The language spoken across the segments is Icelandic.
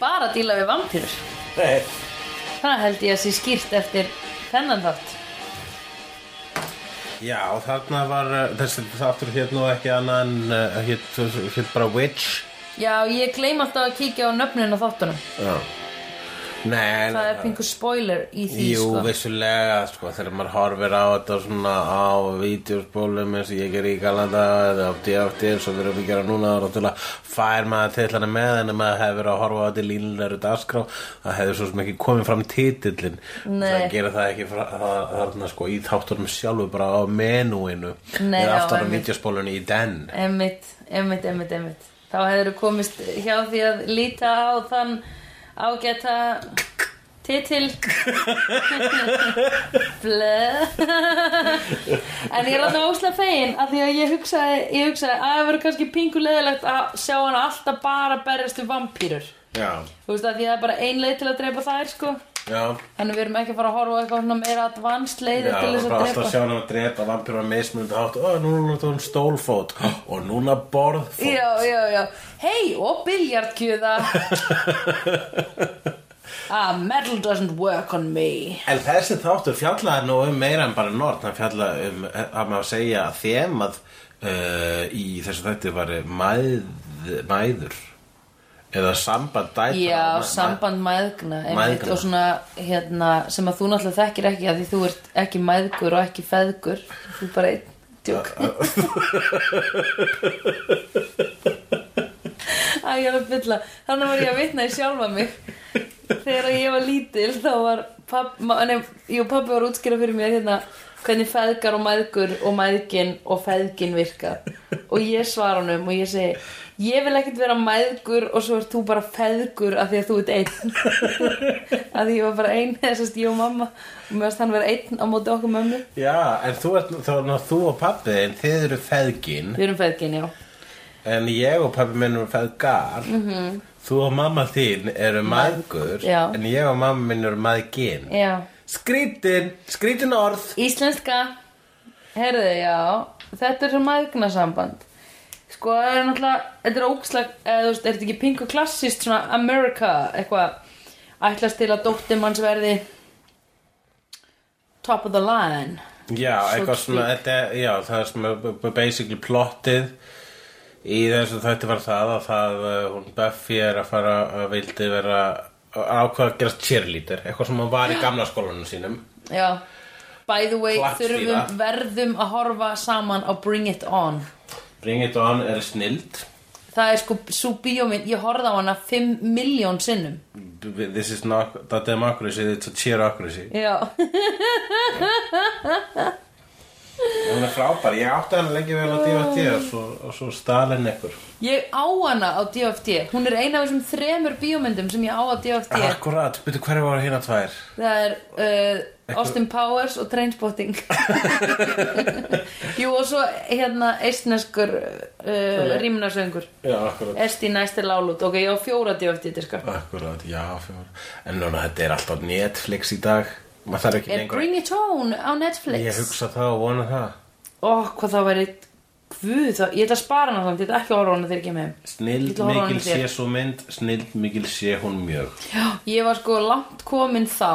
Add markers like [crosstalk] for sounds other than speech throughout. alveg vampýrur Nei, Það held ég að sé skýrt eftir þennan þátt já, þarna var uh, þessi þáttur hétt nú ekki annan uh, hétt, hétt bara Witch Já, ég gleym alltaf að kíkja á nöfnin á þáttunum Já Nei, en- Það er pingu spoiler í því Jú, sko. vissulega, sko, þegar maður horfir á þetta svona á vídeospólum eins og ég er í Galanda eða á DFT eins og við erum að gera núna og náttúrulega fær maður tillana með en ef maður hefur verið að horfa á þetta í línulegur dagskrá það hefur svo sem ekki komið fram titillin Nei. það gera það ekki frá, það, þarna sko í þáttunum sjálfu bara á menúinu Nei, eða já, aftur á einmitt. vídeospólunni í den Emmitt, emmitt, emmitt, emmitt Þá hefur komist hjá því að líta á þann ágæta titil [laughs] Blöð En ég er alltaf óslega fegin að því að ég hugsaði, ég hugsaði að það verður kannski pingu leðilegt að sjá hann alltaf bara berjast við vampýrur Já, Þú veist að því að það er bara ein leið til að drepa þær sko já Þannig við erum ekki að fara að horfa á eitthvað svona meira advanced leiðir Já, til þess að bara alltaf drepa sjá hann að drepa vampýra mismunandi hátt og núna er hún stólfót og núna borðfót Já, já, já. Hei, og [laughs] biljartkjöða. ah, metal doesn't work on me. En þessi þáttur fjallaði nú um meira en bara Nord hann fjallaði um eh, að maður segja að þemað uh, í þessu þætti var mæð, mæður eða samband dætra Já, Ma- samband mæðgna, einmitt, Mæðgna. og svona hérna, sem að þú náttúrulega þekkir ekki að því þú ert ekki mæðgur og ekki feðgur þú er bara einn djók [laughs] Æ, ég er að bylla þannig var ég að vitna í sjálfa mig þegar ég var lítil þá var pappi, jú, pappi var að útskýra fyrir mér hérna hvernig feðgar og mæðgur og mæðgin og feðgin virka og ég svara honum og ég segi ég vil ekkert vera mæðgur og svo ert þú bara feðgur af því að þú ert einn [laughs] af því ég var bara einn eða sérst ég og mamma og mér varst hann vera einn á móti okkur mömmu Já, en þú, ert, þá, ná, þú og pappi en þið eru feðgin við erum feðgin, já en ég og pappi minn eru feðgar -hmm. þú og mamma þín eru mæðgur Mhm. Já. en ég og mamma minn eru mæðgin já Skrítin, skrítin orð Íslenska Herðu, já Þetta er svo mæðgnasamband Sko, það er náttúrulega Þetta er ógslag eða, þú veist, Er þetta ekki pingu klassist svona America Eitthvað Ætlast til að dóttir manns verði Top of the line Já, Svo eitthvað to svona, þetta, já, það er svona b- b- basically plottið í þessu þætti var það að það, uh, hún Buffy er að fara að vildi vera að ákveða að gerast cheerleader, eitthvað sem hún var í gamla skólanum sínum. Já By the way, Klappstýra. þurfum verðum að horfa saman á Bring It On Bring It On er snild, Það er sko, svo bíóminn, ég horfði á hana 5 miljón sinnum this is not the democracy, it's a cheerocracy. Já, Hún er frábær, ég átti hana lengi vel á DFT og svo, og svo stalin ekkur. ég á hana á DFT Hún er eina af þessum þremur bíómyndum sem ég á á DFT Akkurat, byrju hverju voru hérna tvær? Það er uh, Austin Powers og Trainspotting [laughs] Jú og svo hérna eistneskur uh, rýmnarsöngur Já, akkurat. Esti næsti lálút, ok, ég á fjóra djófti diska Akkurat, já, fjóra En núna þetta er alltaf Netflix í dag Maður þarf ekki Er Bring It On á Netflix? Ég hugsa það og vona það Ó, hvað það væri Guð, það, ég ætla að spara hana þannig, ég ætla ekki að horfa á hana þegar ég kem heim Ég Snild ætla að horfa á mikil hana sé þér. svo mynd Snild mikil sé hún mjög Já, Ég var sko langt komin þá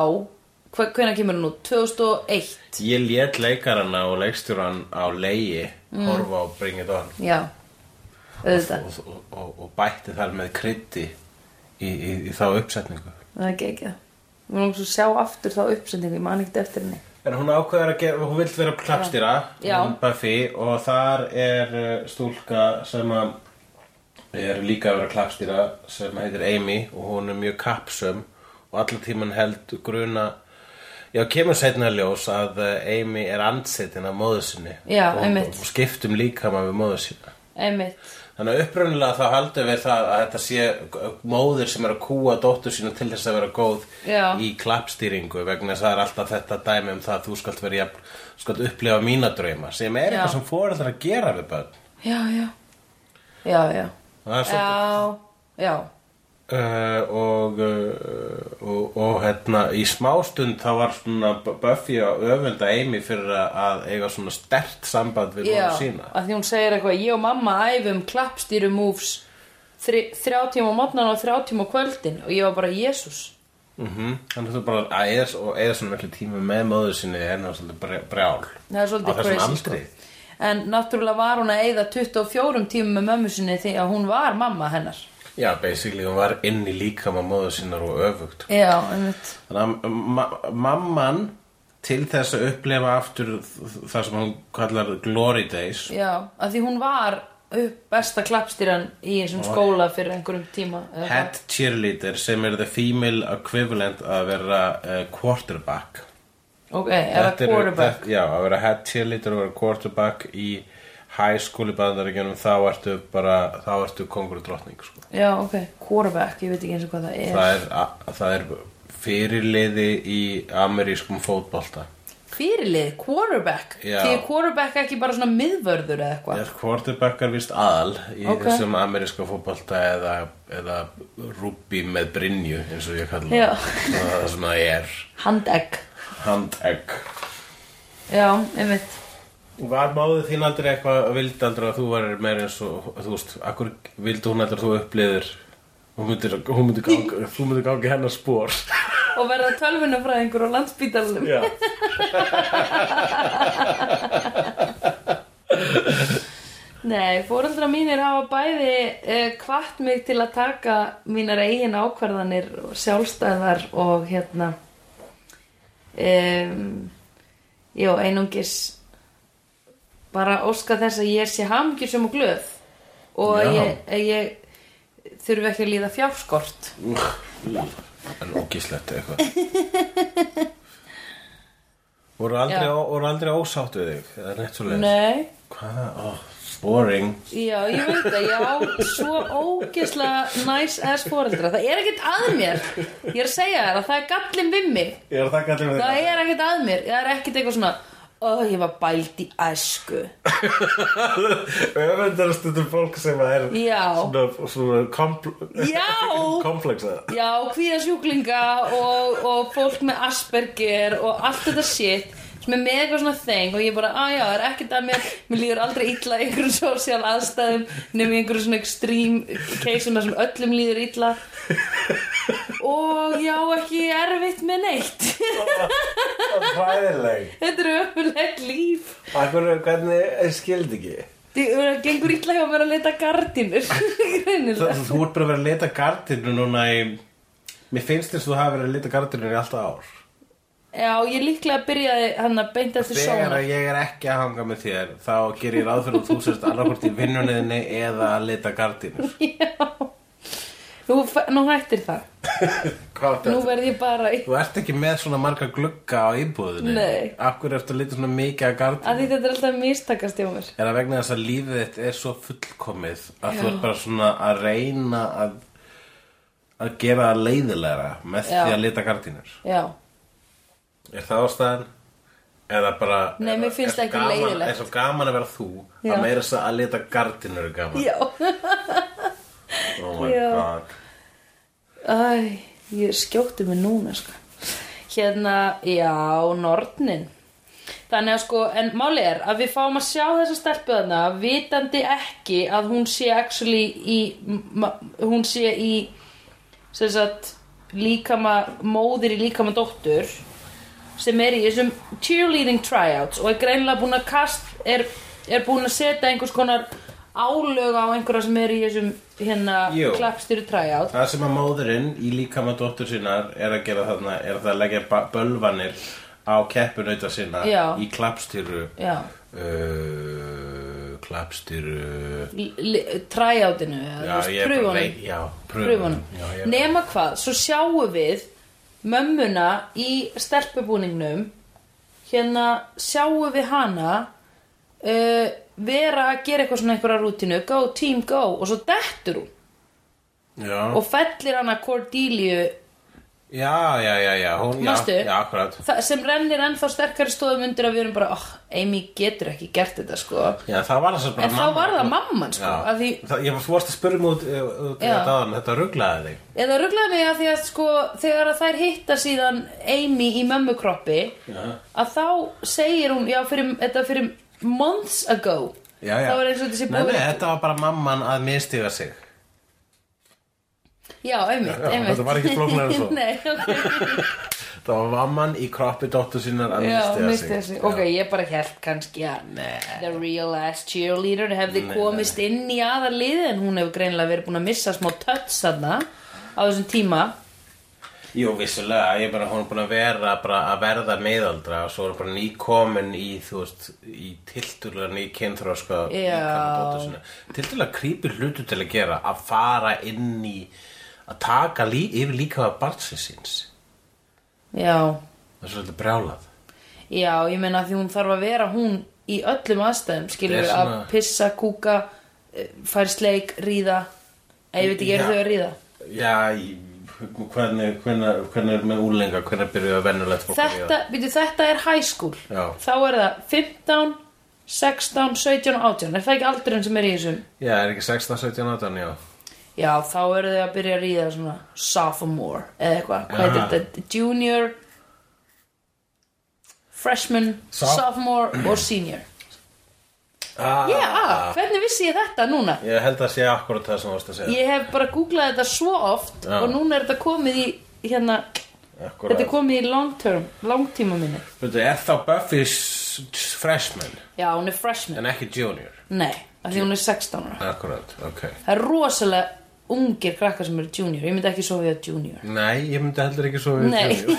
hve- Hvenær kemur hún nú? 2001 Ég lét leikarana og leikstjóran á leigi Mm. Horfa og Bring It On Já, auðvitað og, og, og, og bætti þar með kryddi í, í, í þá uppsetningu Það er ekki ekki það Mér langt svo að sjá aftur þá uppsendingu, ég man ekkert eftir henni En hún ákveður að gera, hún vill vera klappstýra Já. hún Buffy og þar er uh, stúlka sem að er líka að vera klappstýra sem heitir Amy og hún er mjög kappsum og allar tíman held gruna Já, kemur setna ljós að uh, Amy er andsetin af móðu sinni Já, og, einmitt. og skiptum líkama við móðu sína Einmitt Þannig að upprunnilega þá haldum við það að þetta sé móðir sem er að kúa dóttur sína til þess að vera góð Já. í klappstýringu vegna þess að það er alltaf þetta dæmi um það að þú skalt vera jafn, skalt upplifa mína drauma sem er Já. eitthvað sem fóreldrar að gera við börn. Já, já Já, já Það er svo Já, já uh, og, uh, og, og hérna í smástund þá var svona Buffy að öfunda Amy fyrir að- að eiga svona stert samband við Já, móður sína. að því hún segir eitthvað Ég og mamma æfum klappstýru moves þri, þrjá tíma á mótnan og þrjá tíma á kvöldin og ég var bara, Jésús mm Þannig að þú bara að eða, og eða svona miklu tíma með móður sinni er náttúrulega svolítið bre- brjál það er Á svolítið þessum crazy aldri. sko. en náttúrulega var hún að eyða 24 tímum með mömmu sinni því að hún var mamma hennar Já, basically, hún var inn í líkama móður sinnar og öfugt já, einmitt Þannig að ma mamman til þess að upplefa aftur þ- það sem hún kallar glory days já, að því hún var upp besta klappstýran í einsum skóla fyrir einhverjum tíma eða hvað. head cheerleader sem er the female equivalent að vera uh, quarterback ok, eða Þetta eru- quarterback þetta- Já, að vera head cheerleader og vera quarterback í high school í bandaríkjunum þá ertu bara, þá ertu kongur og drottning sko. já, ok, quarterback, ég veit ekki eins og hvað það er það, er, a- það er fyrirliði í amerískum fótbolta fyrirlið, quarterback Já. því er quarterback ekki bara svona miðvörður eða eitthvað Er quarterbackar vist aðal í Ok. þessum ameríska fótbolta eða, eða rúbí með brinju eins og ég kalla Já. það. það er það sem það er handegg, handegg já, einmitt Var máðu þín aldrei eitthvað að vildi aldrei að þú varir meira eins og þú veist, akkur vildi hún aldrei að þú upplýðir hún myndi, hún myndi ganga, þú myndi gangi hennar [laughs] spór og verða tölvunafræðingur á landsbítalunum Já Nei, fóreldra mínir hafa bæði eh, kvart mig til að taka mínar eigin ákvarðanir og sjálfstæðar og hérna um, já, einungis bara óska þess að ég sé hamgjusum og glöð og að Já. ég, að ég þurfi ekki að líða fjárskort En ógíslegt eitthvað [laughs] Voru aldrei, Já. voru aldrei ósátt við þig? Það er neitt svo Nei, Hvað? Oh, boring já, ég veit það, ég á svo ógeðslega nice ass fóreldra það er ekkert að mér ég er að segja þér að það er gallin við mig Ég er að þakka allir Það er ekkert að mér, það er ekkert eitthvað svona Ó, ég var bælt í æsku Öfundar stundum fólk sem er Já. svona, svona kompl Já. kompleksa Já, kvíða sjúklinga og, og fólk með Asperger og allt þetta shit sem er með eitthvað svona þeng og ég bara, að já, það er ekkert að mér mér líður aldrei illa í einhverjum sósíal aðstæðum nefnum í einhverjum svona extrím keisum þar sem öllum líður illa og já, ekki erfitt með neitt [laughs] Hræðileg Þetta eru öfulegt líf Akkur, hvernig skildi ekki? Það gengur illa hjá mér að leita gardinur [laughs] Greinilega Þú ert bara að vera að leta gardinu núna í Mér finnst þess að þú hafi verið að leta gardinu í alltaf ár Já, ég líklega byrjaði hann að beinta eftir Þegar sónar að ég er ekki að hanga með þér þá gerir ég ráð fyrir að þú sérst annarkvort í vinnunniðinni eða að leta gardinu Nú, f- nú hættir það Hvað Nú verð ég bara í Þú ert ekki með svona marga glugga á íbúðinni Nei. Akkur ertu að leta svona mikið að gardinu að því þetta er alltaf mistakast hjá mér Er það vegna þess að lífið þitt er svo fullkomið að þú ert bara svona að reyna að, að gera það leiðilegra með Já. því að lita gardínur? Já, Er það ástæðan? Eða bara... Nei, er- mér finnst er svo ekki gaman, leiðilegt. Er svo gaman að vera þú Já. að meira þess að lita gardínur er gaman? já Oh my Já. god. Æ, ég skjótti mig núna sko. Hérna, já, nornin Þannig að sko, en máli er að við fáum að sjá þessa stelpuðana vitandi ekki að hún sé actually í, ma- hún sé í sem sagt líkama, móðir í líkama dóttur sem er í þessum cheerleading tryouts og er greinlega búin að kast er, er búin að setja einhvers konar álög á einhverja sem er í þessum hérna Jú. klappstýru tryout Það sem að móðurinn í líkama dóttur sinnar er að gera þarna er að það leggja ba- bölvanir á keppunauta sinna Já. í klapstýru Já, uh, klapstýru l- l- tryoutinu eða, þú Já, veist, ég er bara prufunum veit, já, prufunum Já, ég er- nema hvað, svo sjáum við mömmuna í stelpubúningnum hérna sjáum við hana uh, vera að gera eitthvað svona einhverja rútinu go team go og svo dettur hún já, og fellir hana Cordelia já, já, já, já, hún, já, Manstu? já, akkurat. þa- sem rennir ennþá sterkari stóðum undir að við erum bara, oh, Amy getur ekki gert þetta sko Já, það var þess að bara en þá var það mamman sko Já, að því það, ég var þú varst að spyrja mig út, uh, út í Já. þetta aðan, þetta rugglaði þig. Eða rugglaði mig að því að sko þegar að þær hitta síðan Amy í mömmukroppi Já. að þá segir hún, já fyrir, þetta er fyrir months ago Já, þá já. er eins og þetta sé Nei, búið nei, þetta var bara mamman að mistiga sig. Já, einmitt, Já, einmitt þetta var ekki flóknara en svo. [laughs] Nei, ok Það var mamman í kroppi dóttur sínar að Já, misti misti þessi Ok, ég bara held kannski að The real ass cheerleader hefði Nei, komist inn í aðarlið en hún hefur greinilega verið búin að missa smá tötts þarna á þessum tíma Jú, vissulega, ég er bara, hún er búin að vera bara að verða meðaldra og svo er hún bara nýkomin í, þú veist, í tildulega ný kynþróska Já. Tildulega krýpir hlutu til að gera að fara inn í að taka lí, yfir líka að barnsins síns Já, Það er svolítið brjálað já, ég meina því hún þarf að vera hún í öllum aðstæðum skilur Þetta er við að svona- pissa, kúka eh, fær sleik, ríða Ei, ég veit ekki, Já. eru þau að ríða? Já, í- hvernig, hvernig, hvernig er með úlenga, hvernig byrjuðu að venjulegt fólk að líða? Þetta, byrju, þetta er high school Já. Þá er það 15, 16, 17 og 18 Er það ekki aldurinn sem er í þessum? Já, er ekki 16, 17, 18, já Já, þá eru þau að byrja að ríða svona sophomore eða eitthvað, hvað Aha. heitir þetta? Junior, freshman, Soph- sophomore og senior. ah, Já, hvernig vissi ég þetta núna? Ég held að sé akkurat það sem þú varst að segja Ég hef bara googlað þetta svo oft Já. og núna er þetta komið í, hérna, Akkurat þetta er komið í long term, langtíma minni. Veitu, er þá Buffy s- s- freshman Já, hún er freshman. en ekki junior? Nei, af því hún er 16 ára. Akkurat, ok. Það er rosalega ungir krakkar sem eru junior, ég myndi ekki svo við að junior. Nei, ég myndi heldur ekki svo við Nei. junior.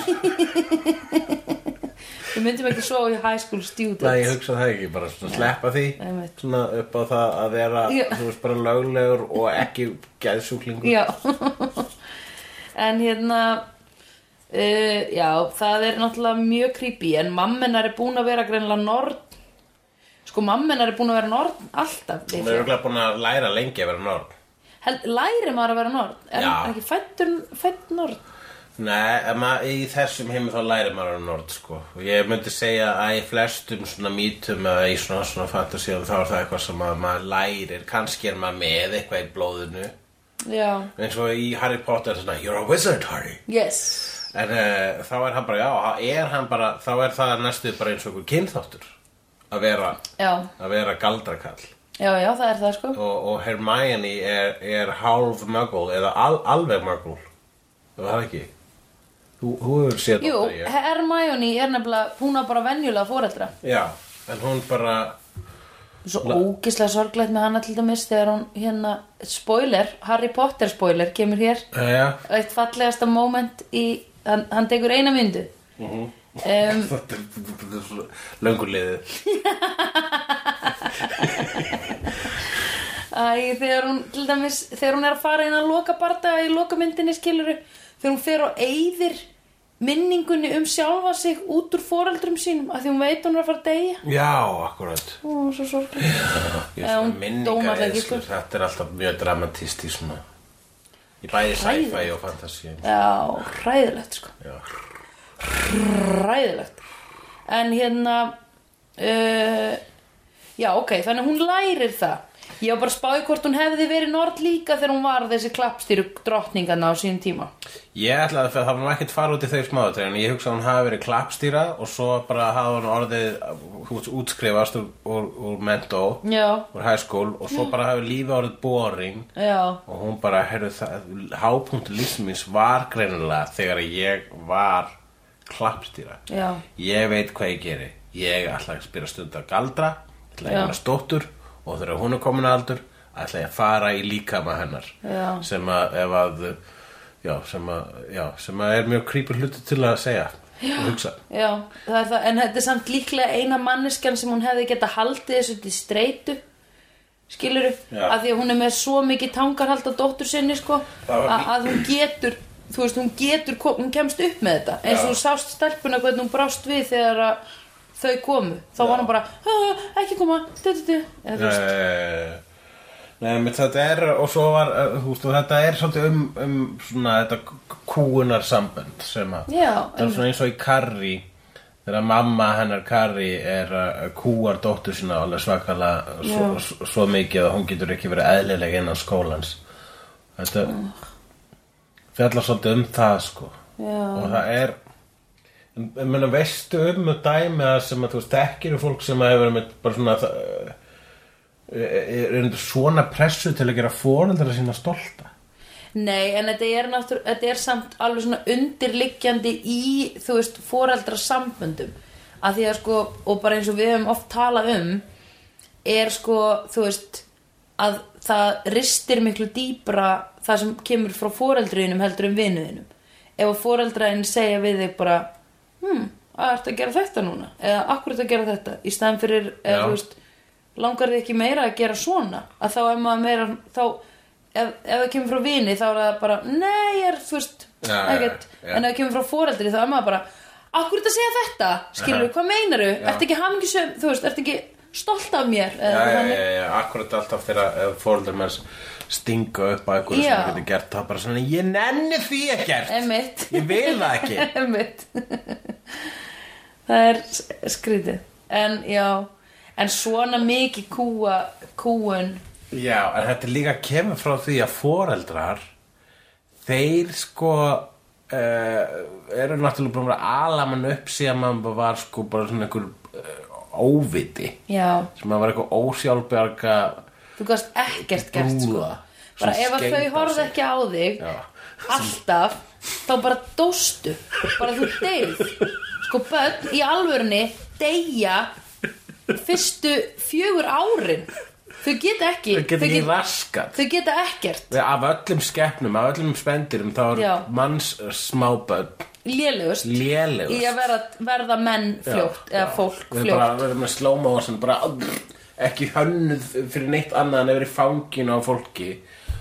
Við myndum ekki svo við high school students. Nei, ég hugsa það ekki, bara svona sleppa því, Einmitt. svona upp á það að vera, Já. þú veist, bara löglegur og ekki geðsjúklingur. Já [laughs] En hérna uh, Já, það er náttúrulega mjög creepy En mammenar er búin að vera greinlega norn Sko mammenar er búin að vera norn Alltaf Hún er örgulega búin að læra lengi að vera norm. Hel, Læri maður að vera norn Er Já. er ekki fættur fætt norn Nei, ef maður- í þessum heimi þá læri maður að vera nord, sko. Og ég myndi segja að í flestum svona mítum eða í svona, svona fantasíum þá er það eitthvað sem að maður lærir. Kannski er maður með eitthvað í blóðinu. Já eins og í Harry Potter svona, you're a wizard Harry Yes en uh, þá er hann bara, já, þá er hann bara þá er það næstu bara eins og einhver kynþáttur að vera, Já, að vera galdrakall já, já, það er það sko og, og Hermione er, er hálf muggle eða al, alveg muggle það er ekki þú, þú hefur séð Jú, Dr. Year. Hermione er nefnilega Hún á bara venjulega fóreldra já, en hún bara Svo ógislega sorglegt með hana til dæmis Þegar hún hérna Spoiler, Harry Potter spoiler Kemur hér Eh, já, eitt fallegasta moment í, hann, hann tekur eina myndu um, Þetta er- þetta er svo lönguliðið Æ, þegar hún, til dæmis, þegar hún er að fara inn að loka bardaga í lokamyndinni skiluru, þegar hún fer og eyðir minningunni um sjálfa sig út úr foreldrum sínum að því hún veit hún er að fara að deyja já, akkurat Ó, svo sorglega Ég Eða hún svona dó minningar náttúrulega ekki, sko. eðslur, þetta er alltaf mjög dramatist í svona í bæði sci-fi og fantasy Já, hræðilegt sko Já. Hræðilegt En hérna uh, Já, ok, þannig hún lærir það Ég var bara að spáði hvort hún hefði verið nord líka þegar hún var þessi klappstýru drottningana á sínum tíma Ég ætlaði að það var ekkert fara út í þau smáðutri en ég hugsa að hún hafi verið klappstýra og svo bara hafa hún orðið hún útskrifast úr, úr, úr mentó Já, úr high school og svo bara hafi lífið orðið boring já, og hún bara, heyrðu það hápunkt lífsmins var greinilega þegar ég var klappstýra já ég veit hvað ég geri ég ætla að spyrja stund að galdra ætla að Já. eignast dóttur og þegar hún er komin að aldur ætla ég að fara í líkama hennar Já. sem að ef að já, sem að, já, sem að er mjög krýpur hluti til að segja og hugsa Já, það er það, en þetta er samt líklega eina manneskjan sem hún hefði geta haldið þessu til streitu skiluru, Já. af því að hún er með svo mikið tangarhald á dóttur sinni sko, Það var að, að hún getur þú veist, hún getur, kom- hún kemst upp með þetta eins og Já. hún sást stelpuna hvernig hún brást við þegar að þau komu þá Já. var hún bara, "Ha, ha, ekki koma du, du, du. Eða, þú veist, Eh, Nei, menn þetta er og svo var, eh, þú veist, og þetta er svolítið um, um svona þetta kúunar sambönd sem að Já, það er svona eins og í Carri þegar mamma hennar Carri er að kúar dóttur sína alveg svakala svo, Já. svo, svo mikið að hún getur ekki verið eðlileg innan skólans þetta fjallar svolítið um það sko já, og það er en- en menna veistu um að dæmi að sem að þú veist þekkir um fólk sem að hefur með bara svona eh, það, eh, er er undir svona pressu til að gera fóreldra sína stolta Nei, en þetta er, náttúr, þetta er samt alveg svona undirliggjandi í, þú veist, foreldrasamböndum. Að því að sko, og bara eins og við höfum oft talað um, er sko, þú veist, að það ristir miklu dýpra það sem kemur frá foreldriðinum heldur en vinuðinum. Ef að foreldraðin segja við þig bara, hmm, að ertu að gera þetta núna? Eða akkur ertu að gera þetta? Í stæðan fyrir, eða, Já. þú veist, langar þið ekki meira að gera svona að þá er maður meira þá, ef, ef það kemur frá vini þá er það bara nei, ég er, þú veist, Já, já, ekkert já. en ef það kemur frá foreldri þá er maður bara akkur þetta segja þetta, skilur Aha. hvað meinaru Já. ertu ekki hamingisum, þú veist, ertu ekki stolt af mér Já, eitthvað já, þannig. já, já, akkurat alltaf þegar fóreldur með stinga upp að eitthvað sem Já. það getur gert þá bara svona, ég nenni því ekkert Einmitt. [laughs] ég vil það ekki Einmitt. [laughs] það er s- skrítið en já, en svona mikið kúa, kúun já, en þetta er líka kemur frá því að foreldrar þeir sko uh, eru náttúrulega búin að ala mann upp síðan mann bara var sko bara svona einhver uh, óviti já, sem að var eitthvað ósjálfbjarga þú gast ekkert gert sko. Brúða bara sem ef að skein þau á horfðu sig. ekki á þig Já. alltaf, þá bara dóstu bara þú deyð sko börn í alvörunni deyja fyrstu fjögur árin þau geta ekki þau getur ekki raskat þau geta ekkert, Við- af öllum skepnum, af öllum spendirum þá eru Já. manns smáböld lélegust lélegust í að vera, verða menn fljótt eða fólk við bara fljótt verðum með slóma og sem bara ekki hönnuð fyrir neitt annað en að vera í fanginu á fólki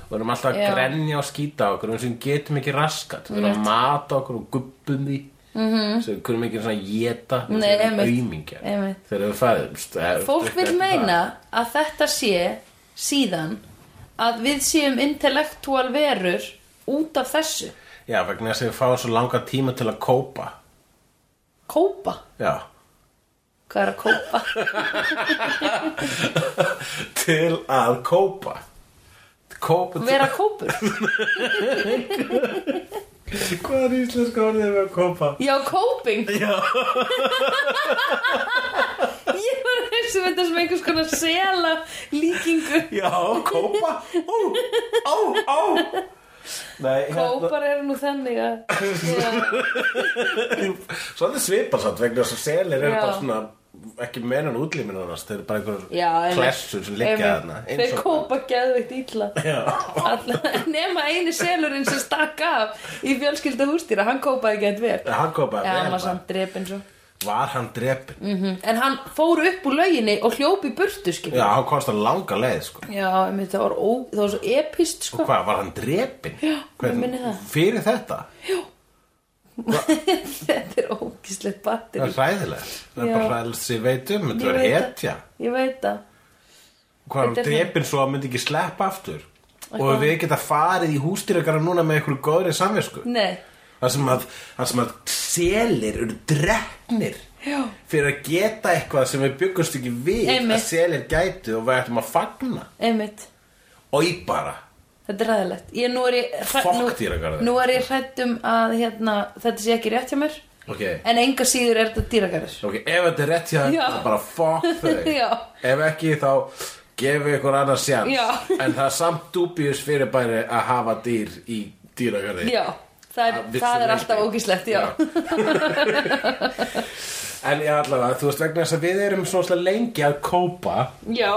og erum alltaf að Já. grenja og skýta á okkur og sem getum ekki raskat við erum að mata okkur og gubbum því mm -hmm. sem kurum ekki svona geta við Mhm. Nei, erum einmitt. aumingjar Einmitt. þegar við fæðumst eh, fólk þetta vil er það. meina að þetta sé síðan að við séum intellektúal verur út af þessu já, vegna þess að við fáum svo langa tíma til að kópa kópa já Hvað er að kópa? til að kópa kópa til Vera kópur? [laughs] hvað er íslenska orðið við að kópa Já, kóping [laughs] já, [laughs] Ég var eins og þetta sem einhvers konar sela líkingu já, kópa ó, ó, ó nei, hérna, Kópar eru nú þannig [laughs] að Já, svolítið svipar satt vegna þess að selir eru Já. bara svona ekki menan útlíminu annars þeir eru bara já einhver einmitt. klessur sem liggja Einmitt. þarna eins Þeir og- kópa geðveikt illa já, Alla- Nema eini selurinn sem stakk af í fjölskylda hústýra, hann kópaði gett vel Já, hann kópaði hann var vel samt drepin svo var hann drepin Mhm. En hann fór upp úr lauginni og hljóp í burtu, skil já, hann komst að langa leið sko Já, einmitt, það var, ó, það var svo epist, sko Og hvað, var hann drepin? Já, ég minni það. Fyrir þetta? [laughs] Þetta er ógislegt batteri Það er hræðilegt. Það er Já. bara hræðilegt sem ég veit um, þetta Ég er veit það. hetja. Ég veit það Hvað er Þetta hann er drepin svo að myndi ekki sleppa aftur? Og við geta farið í hústýrakara núna með einhverju góðri samvisku. Nei, Það sem að, það sem að selir eru drefnir Já. fyrir að geta eitthvað sem við byggumst ekki við Einmitt. að selir gætu og við ættum að fagna. einmitt Og bara, Þetta er ræðilegt Ég nú er ég hræ- Fokk nú, dýragarður. Nú er ég hrætt um að hérna, þetta sé ekki rétt hjá mér ok, En enga síður er þetta dýragarður ok, ef þetta er rétt hjá Já. þetta, bara fokk [laughs] þau. Já. Ef ekki þá gefum við ykkur annars sjans. Já. En það er samt dúbíus fyrir bæri að hafa dýr í dýragarði. Já, það er, Að vissu það er leyti. alltaf ógislegt já. [laughs] en ég allavega, þú veist vegna þess að við erum svona lengi að kópa já,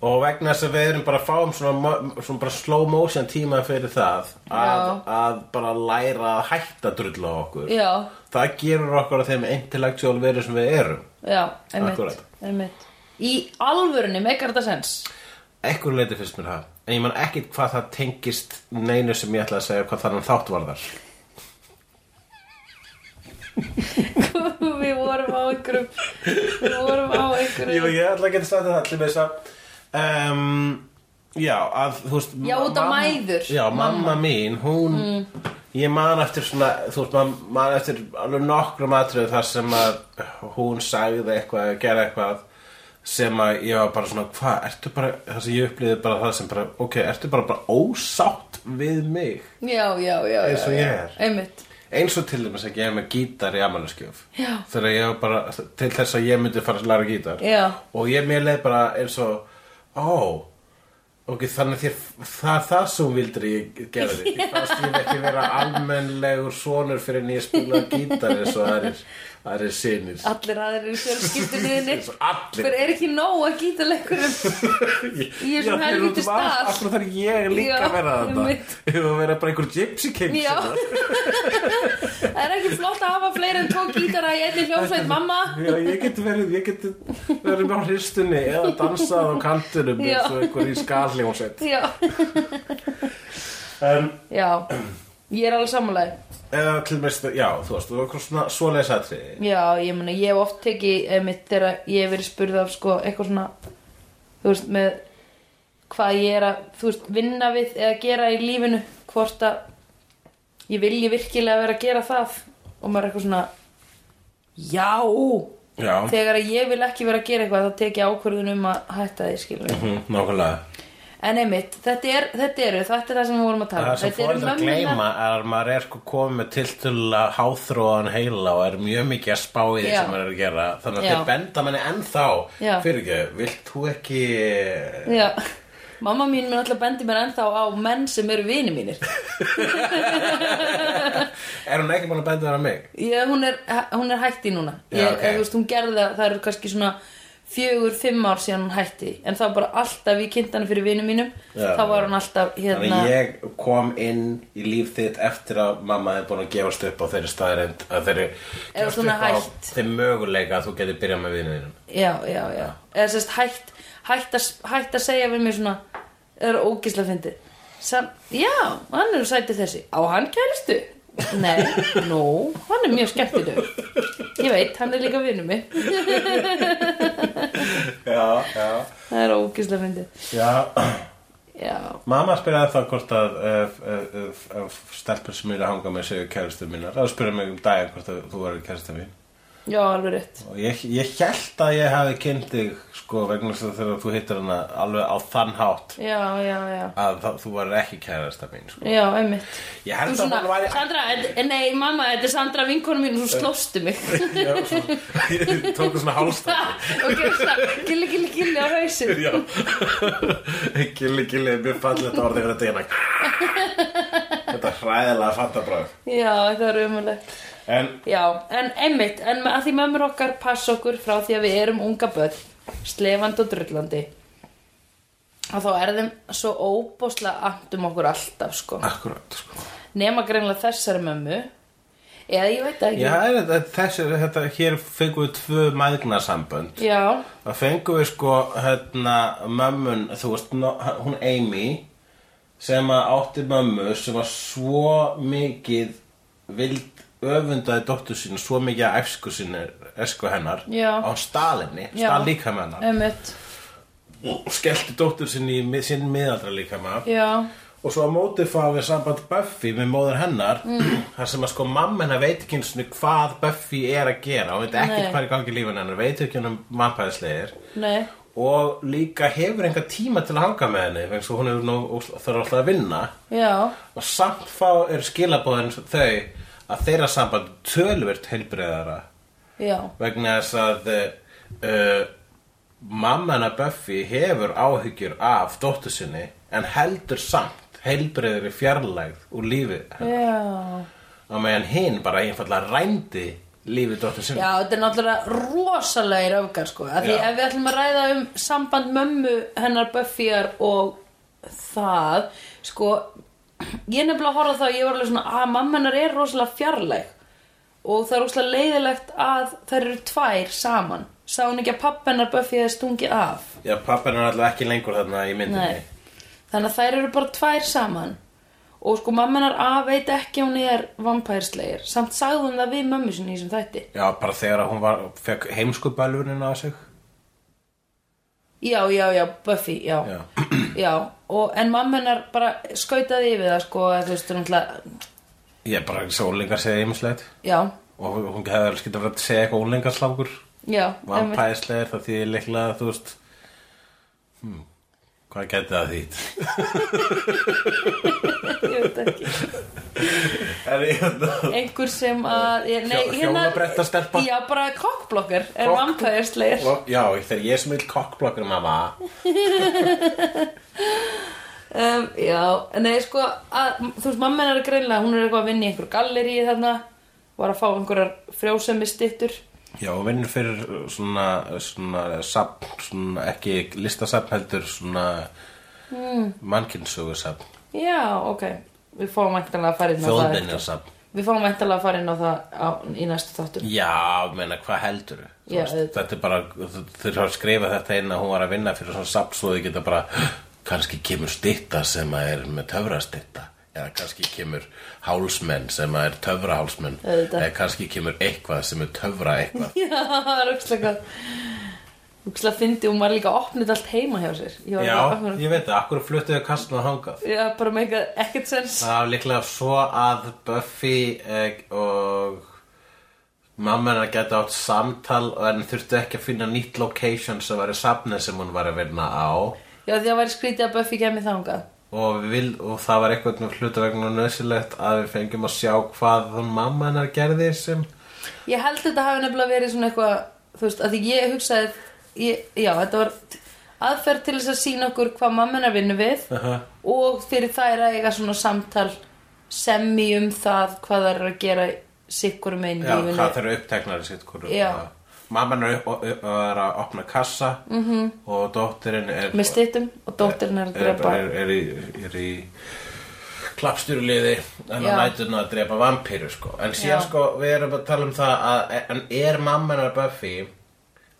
og vegna þess að við erum bara að fáum svona, mo- svona bara slow motion tíma fyrir það að, Já. að bara læra að hætta að drulla á okkur já, það gerur okkur að þeim intellectual veru sem við erum já Einmitt, Akkúrat. einmitt Í alvörunni, meikar þetta sens [laughs] ekkur leiti fyrst mér það en ég man ekkit hvað það tengist neinu sem ég ætla að segja hvað þannig þátt varðar Við vorum á einhverjum Við vorum á einhverjum Jú, ég ætla að geta sagt það til þess að um, Já, að þú veist Já, út af mamma- mæður. Mm. Já, mamma mín, hún Ég man eftir svona, þú veist, man, man eftir alveg nokkrum atriðu þar sem að hún sagði eitthvað, gera eitthvað sem að ég var bara svona, hvað, ertu bara, það sem ég upplýði bara það sem bara, ok, ertu bara bara ósátt við mig, Já, já, já, já, Eins og já. ég er. Einmitt eins og til dæmis að ég er með gítar í amæluskjöf, Já. þegar ég var bara, til þess að ég myndi fara að læra gítar Já, og ég mér leið bara eins og ó, Ok, þannig að þér, það, það sem hún vildir ég [laughs] gera því. Ég fannst ég ekki vera almennlegur sonur fyrir en ég spila gítar eins og aðrir, aðrir sinir. Allir aðrir í fjölskyldunniðinni Eins og Hver allir. er ekki nóg að um- gýta leikurum Ég er svona helvítis um stað. Akkur þarf ég líka Já, að vera þetta. einmitt. Ef að vera bara einhver gypsy king. Já sem það. Það er ekki flott að hafa fleiri en tvo gítara í einni hljómsveit mamma Já, ég get verið, ég get verið með á hristunni eða dansað á kantinum Já. eins og einhver í skalhljómsveit. Já, En já Ég er alveg samanlega Eða til mest, já, þú veist, þú veist, svona svoleiðis atriði. Já, ég meina, ég hef oft tekið einmitt þegar ég hef verið spurð af sko eitthvað svona Þú veist, með hvað ég er að, þú veist, vinna við eða gera í lífinu Hvort að ég vilji virkilega vera að gera það Og maður er eitthvað svona Já, Já, þegar að ég vil ekki vera að gera eitthvað þá tek ég ákvörðun um að hætta því skilur mm. Mhm, nákvæmlega. en einmitt, þetta, er, þetta eru þetta er það sem við vorum að tala Það um. sem Þetta eru fóreldra mömmurnar- gleyma er að maður er sko komið með tiltölulega háþróan heila og er mjög mikið að spá í því Já. sem maður er að gera þannig að Já. þeir benda manni ennþá Já. fyrir ekki, vilt þú ekki Já. mamma mín mun alltaf bendi mér ennþá á menn sem eru vini mínir er hún ekki búin að benda þér að mig? ég, hún, er, hún er hætti núna ég, Já, ok. eða, þú veist, hún gerði það, það eru kannski svona fjögur, fimm ár síðan hún hætti en það var bara alltaf í kynntana fyrir vini mínum Já. þá var hún alltaf hérna Þannig að ég kom inn í líf þitt eftir að mamma hefði búin að gefast upp á þeirri staðarind að þeirri gefast svona upp á hætt. þeim möguleika að þú getur byrjað með vinuðinum Já, já, já Eða sérst hætt, hætt, að, hætt að segja við mér svona Það er ógislega fyndið Sam, Já, hann er sætið þessi Á hann kæristu? Nei, nú, hann er mjög skemmtilegur Ég veit, hann er líka vinnum mig Já, já Það er ógislega fyndið Já, [clears throat] Já, Mamma spyrjaði þá hvort að eh, ef, ef, ef, ef stelpur sem eru að hanga með séu kæristu mínar þá spyrjaði mig um daginn hvort að þú verður kæristu mín já, alveg rétt og ég, ég held að ég hafi kynnt þig sko vegna þess að þegar þú hittir hana alveg á þann hátt Já, já, já að það, þú verður ekki kærasta mín sko. Já, einmitt ég Þú held svona, að [laughs] hún Sandra, en- nei, mamma, þetta er Sandra vinkonu mín og Þú slóstu mig [laughs] væri ég tók svona [laughs] hálstætti Ok, svona, gilli, gilli, gilli á hausinn Já Gilli, gilli, mér fallið þetta orðið fyrir dýna Þetta er hræðilega fattabráð Já, það er umulegt En Já, en einmitt, en að því mömmur okkar passa okkur frá því að við erum unga börn, slefandi og drullandi. Og þá er þeim svo óbóðslega annt um okkur alltaf, sko. akkurat sko Nema greinlega þessari mömmu, eða ég veit það ekki. Já, er þetta, þessi, þetta, hér fengum við tvö mæðgnarsambönd. Já, Það fengum við sko, hérna, mömmun, þú veist, no, hún Amy, sem að átti mömmu sem var svo mikið vild öfundaði dóttur sína, svo mikið að æsku sína, æsku hennar, Já. á stalinni, Já. stal líka með hennar. einmitt, Og skellti dóttur sinni í mi- sinn miðaldra líka með já, Og svo á móti fá við samband Buffy með móður hennar þar sem að sko mamma hennar veit ekki einu sinni hvað Buffy er að gera hún veit ekkert Nei. hvað er í gangi í lífin hennar veit ekki hann um mannpæðislegir nei, og líka hefur enga tíma til að hanga með henni vegna svo hún er nú þarf alltaf að vinna já, og samt fá er skilabóðin þau að þeirra samband er tölvert heilbreyðara já, vegna þess að uh, mamma hennar Buffy hefur áhyggjur af dóttu sinni en heldur samt heilbreyðri fjarlægð úr lífi já. á meðan hinn bara einfallega rændi lífi dóttu sinni Já, þetta er náttúrulega rosalegir öfgar sko að Því Já. ef við ætlum að ræða um samband mömmu hennar Buffyar og það sko, ég er nefnilega að horfa á það og ég var alveg svona að mamma hennar er rosalega fjarlæg og það er rosalega leiðilegt að þær eru tvær saman sá hún ekki að pappa hennar Buffy hefði stungið af Já, pappin er alltaf ekki lengur þarna í myndinni Nei. Þannig að þær eru bara tvær saman og sko mamma hennar að veit ekki að hún er vampærslegir samt sagði hún það við mömmu sinni í sem þætti Já, bara þegar að hún var, fekk heimskupalvunina á sig Já, já, já, Buffy, já Já. [clears throat] Já, og, en mamma hennar bara skautaði yfir það sko, að þú veist, hún ætla Ég er bara sólingar segja heimslegt Já, og hún hefði alveg skilt að vera að segja eitthvað ólingarslákur já einmitt. vampæðislegir það því líklega þú veist hmm, Hvað gæti það þýtt? ég veit [laughs] ekki Er ég hérna? einhver sem að ég- nei, hérna- Hjó- hjólabretta stelpa? já bara kokkblokkar er Kokk- vampæðisleir Já, þegar ég sem vil kokkblokkur mamma um, já, nei sko að, þú veist mamma hennar er greinlega hún er eitthvað að vinna í einhver galleri þarna var að fá einhverjar frjósemi stittur Já, og vinnur fyrir svona, svona, sapn, svona ekki listasapn heldur svona Hmm. mm. mannkynnsögusapn, já, ok við fáum væntanlega að fara inn á það eftir. þjóðbennjarsapn. við... við fáum væntanlega að fara inn á það á, í næstu þáttur Já, meina, hvað heldur Já, auðvitað. Þetta er bara, þau þurfa að skrifa þetta inn að hún var að vinna fyrir svona sapn svo þau geta bara, kannski kemur stytta sem að er með töfrastytta eða kannski kemur hálsmenn sem að er töfrahálsmenn Auðvitað. eða kannski kemur eitthvað sem er töfra eitthvað já, [laughs] það er ókslega gott ókslega fyndi hún var líka að opna þetta allt heima hjá sér ég var Já, bara, ég veit það, akkur fluttuðu kastna hangað já, bara með eitthvað ekkert sens Það var líklega svo að Buffy eh, og mamma hennar geta átt samtal en þurftu ekki að finna nýtt location sem var í safni sem hún var að vinna á já, því að væri skrítið að Buffy kemur þangað og, vil, og það var eitthvað nú hluta vegna nöðsilegt að við fengjum að sjá hvað hún mamma hennar gerði sem Ég held þetta hafi nefnilega verið svona eitthvað þú veist, að því ég hugsaði ég, já, þetta var t- aðferð til þess að sína okkur hvað mammenar vinnu við Aha. og fyrir þær að eiga svona samtal semmi um það hvað þær eru að gera sikkur meginn já, lífinu hvað þeirra uppteknar í sitt hvoru Já. Mamma hennar upp- upp- er að opna kassa Mhm. -hmm. og dóttirinn er með stittum og dóttirinn er að er, drepa er, er, í, er í klappstjúruliði en á Já. nætuna að drepa vampíru sko. en síðan Já. sko við erum að tala um það að en er mammanar Buffy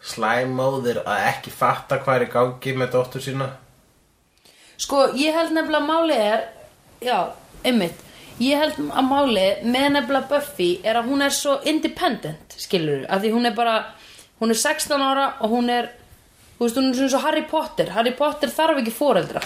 slæmóðir að ekki fatta hvað er í gangi með dóttur sína Sko, ég held nefnilega að máli er Já, einmitt Ég held að máli með nefnilega Buffy er að hún er svo independent skilur, af því hún er bara hún er 16 ára og hún er þú veist, hún er svona svo Harry Potter Harry Potter þarf ekki foreldra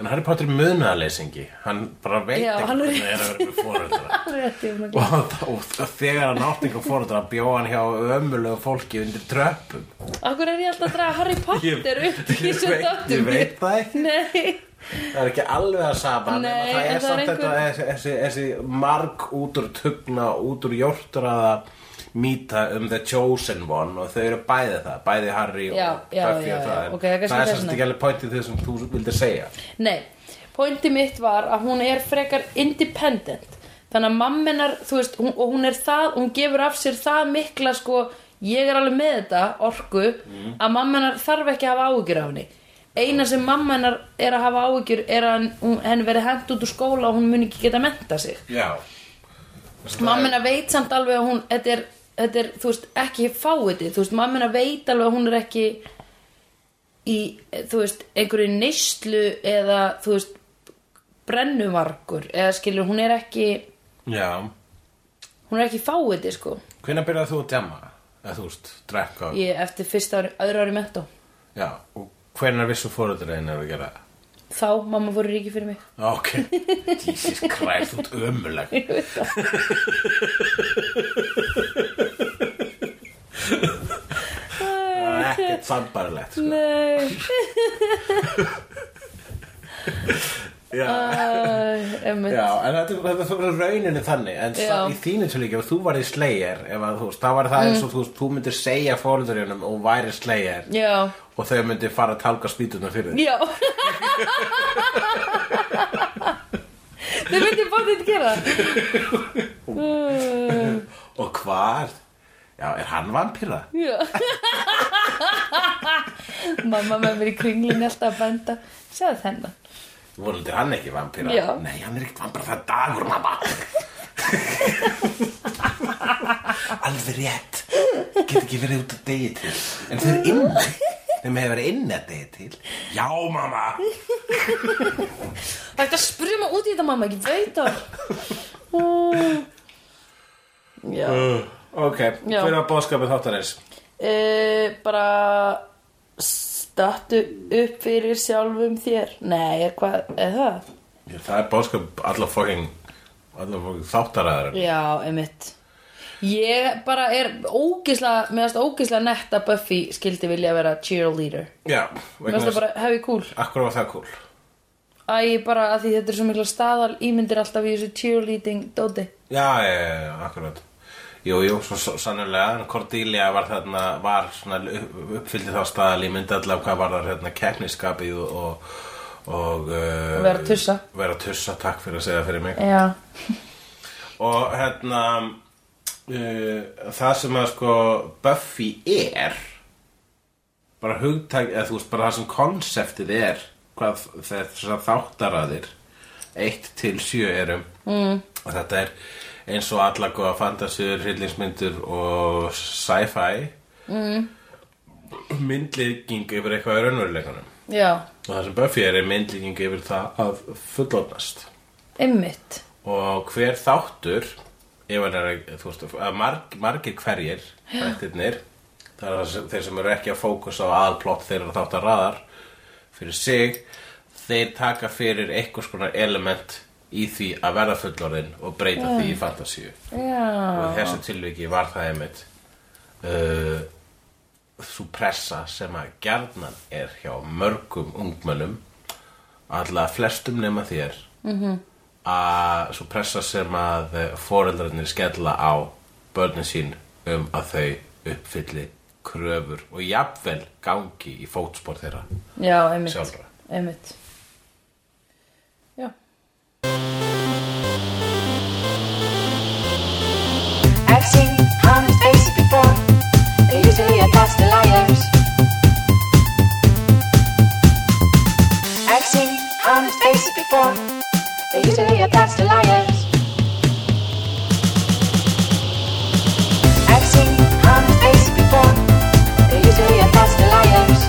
en Harry Potter er munaleysingi hann bara veit Já, ekki hann er- hvernig er að vera með foreldra [laughs] Rétt, ég var með- og, og þegar hann átti einhver foreldra bjóð hann hjá ömulegu fólki undir tröppum Akkur er ég alltaf að draga Harry Potter upp í ég, þessu veit, ég þáttum veit það ekki Nei, Það er ekki alveg að sama Nei, nema en það er það er samt einhver- þetta þessi, þessi, þessi marg út úr tugna út úr jórtraða mýta um The Chosen One og þau eru bæði það, bæði Harry og Já, já, Buffy já, og já, það en ok, það er kannski það er þess svolítið vegna. ekki alveg pointið því sem þú vildir segja Nei, pointi mitt var að hún er frekar independent þannig að mammenar, þú veist, hún, og hún er það hún gefur af sér það mikla sko, ég er alveg með þetta, orku að mammenar þarf ekki að hafa áhyggjur af henni eina sem mammenar er að hafa áhyggjur er að hún, henni verið hent út úr skóla og hún muni ekki geta menta sig Já Sko, mammina veit samt alveg að hún þetta er, þetta er þú veist, ekki fáiði þú veist, mammina veit alveg að hún er ekki í, þú veist einhverju neyslu eða þú veist, brennumarkur eða skilur, hún er ekki Já, hún er ekki fáiði, sko hvenær byrjaði þú að djama? Eða þú veist, drekka og... ég eftir fyrsta ári, öðru ári mentó Já, og hvenær vissu fóruðrein er að gera það? þá, mamma fóru ríki fyrir mig [laughs] Ok, [laughs] Jesus Christ, þú ert ömuleg ég veit það Það er ekkert sambarlegt sko. nei, Ah. Já, æ, einmitt. Já, en þetta, þetta fyrir rauninu þannig en Já. það, í þínu tilíki, ef þú væri slayer ef að, þú veist, þá var Mm. það eins og þú, veist, þú myndir segja fóruðurjónum og væri slayer já, og þau myndir fara að tálka spýtuna fyrir þig já þau myndi bara þetta gera það og hvað? Já, er hann vampíra? Já Mamma með mér í kringlunni alltaf að benda Sjáðu þennan Vonandi er hann ekki vampíra? Já. Nei, hann er ekkert vampíra, það er dagur, [laughs] mamma Alveg rétt Get ekki verið út að degi til En þau eru inni Þeim hefur verið inni að degi til Já, mamma Það er hægt að spyrja mig út í þetta mamma, ekki veit það Já Ok, Já. hver var bóðskapið þáttarins? e, Bara Stattu upp fyrir sjálfum þér Nei, er hvað, er það? Já, það er bóðskap allar fókin allar fókin þáttaræðar Já, einmitt Ég bara er ógislega, meðast ógislega nett að Buffy skildi vilja vera cheerleader. Já, Meðast það bara... bara hefði cool. akkur var það cool Æ, bara að því þetta er svo mikla staðal ímyndir alltaf í þessu cheerleading dóti. Já, já, já, já, akkurat Jú, jú, svo- svo sannlega en Cordelia var þarna var svona upp- uppfylli þá staðal í myndi allavega hvað var þar hérna keppniskapið og, og, og uh, Vera tussa. vera tussa, takk fyrir að segja fyrir mig Já. og hérna uh, það sem að sko Buffy er bara hugtæk eða þú veist bara það sem konseptið er hvað þessar þáttaraðir 1 til 7 erum mm. og þetta er eins og alla góða fantasíur, hryllingsmyndur og sci-fi mm. myndlíking yfir eitthvað í raunveruleikunum Já. og það sem Buffy er er myndlíking yfir það að fullotnast Einmitt. og hver þáttur ef hann er að, þú veist, að marg, margir hverjir þættirnir það er það sem- þeir sem eru ekki að fókusa á aðplott þeirra þáttar raðar fyrir sig þeir taka fyrir einhvers konar element í því að verða fullorðin og breyta því í fantasíu og í Já. þessu tilviki var það einmitt uh, svo pressa sem að gjarnan er hjá mörgum ungmönnum allavega flestum nema þér -hmm. að svo pressa sem að eh, foreldrarnir skella á börnin sín um að þau uppfylli kröfur og jafnvel gangi í fótspor þeirra Já, einmitt. Sjálfra. Einmitt. Já. I've seen honest faces before. They're usually a pass to liars. I've seen honest faces before. They're usually a pass to liars. I've seen honest faces before. They're usually a pass to liars.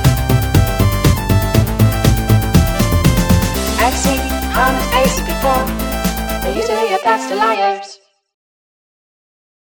I've seen honest faces before. They're usually a pass to liars.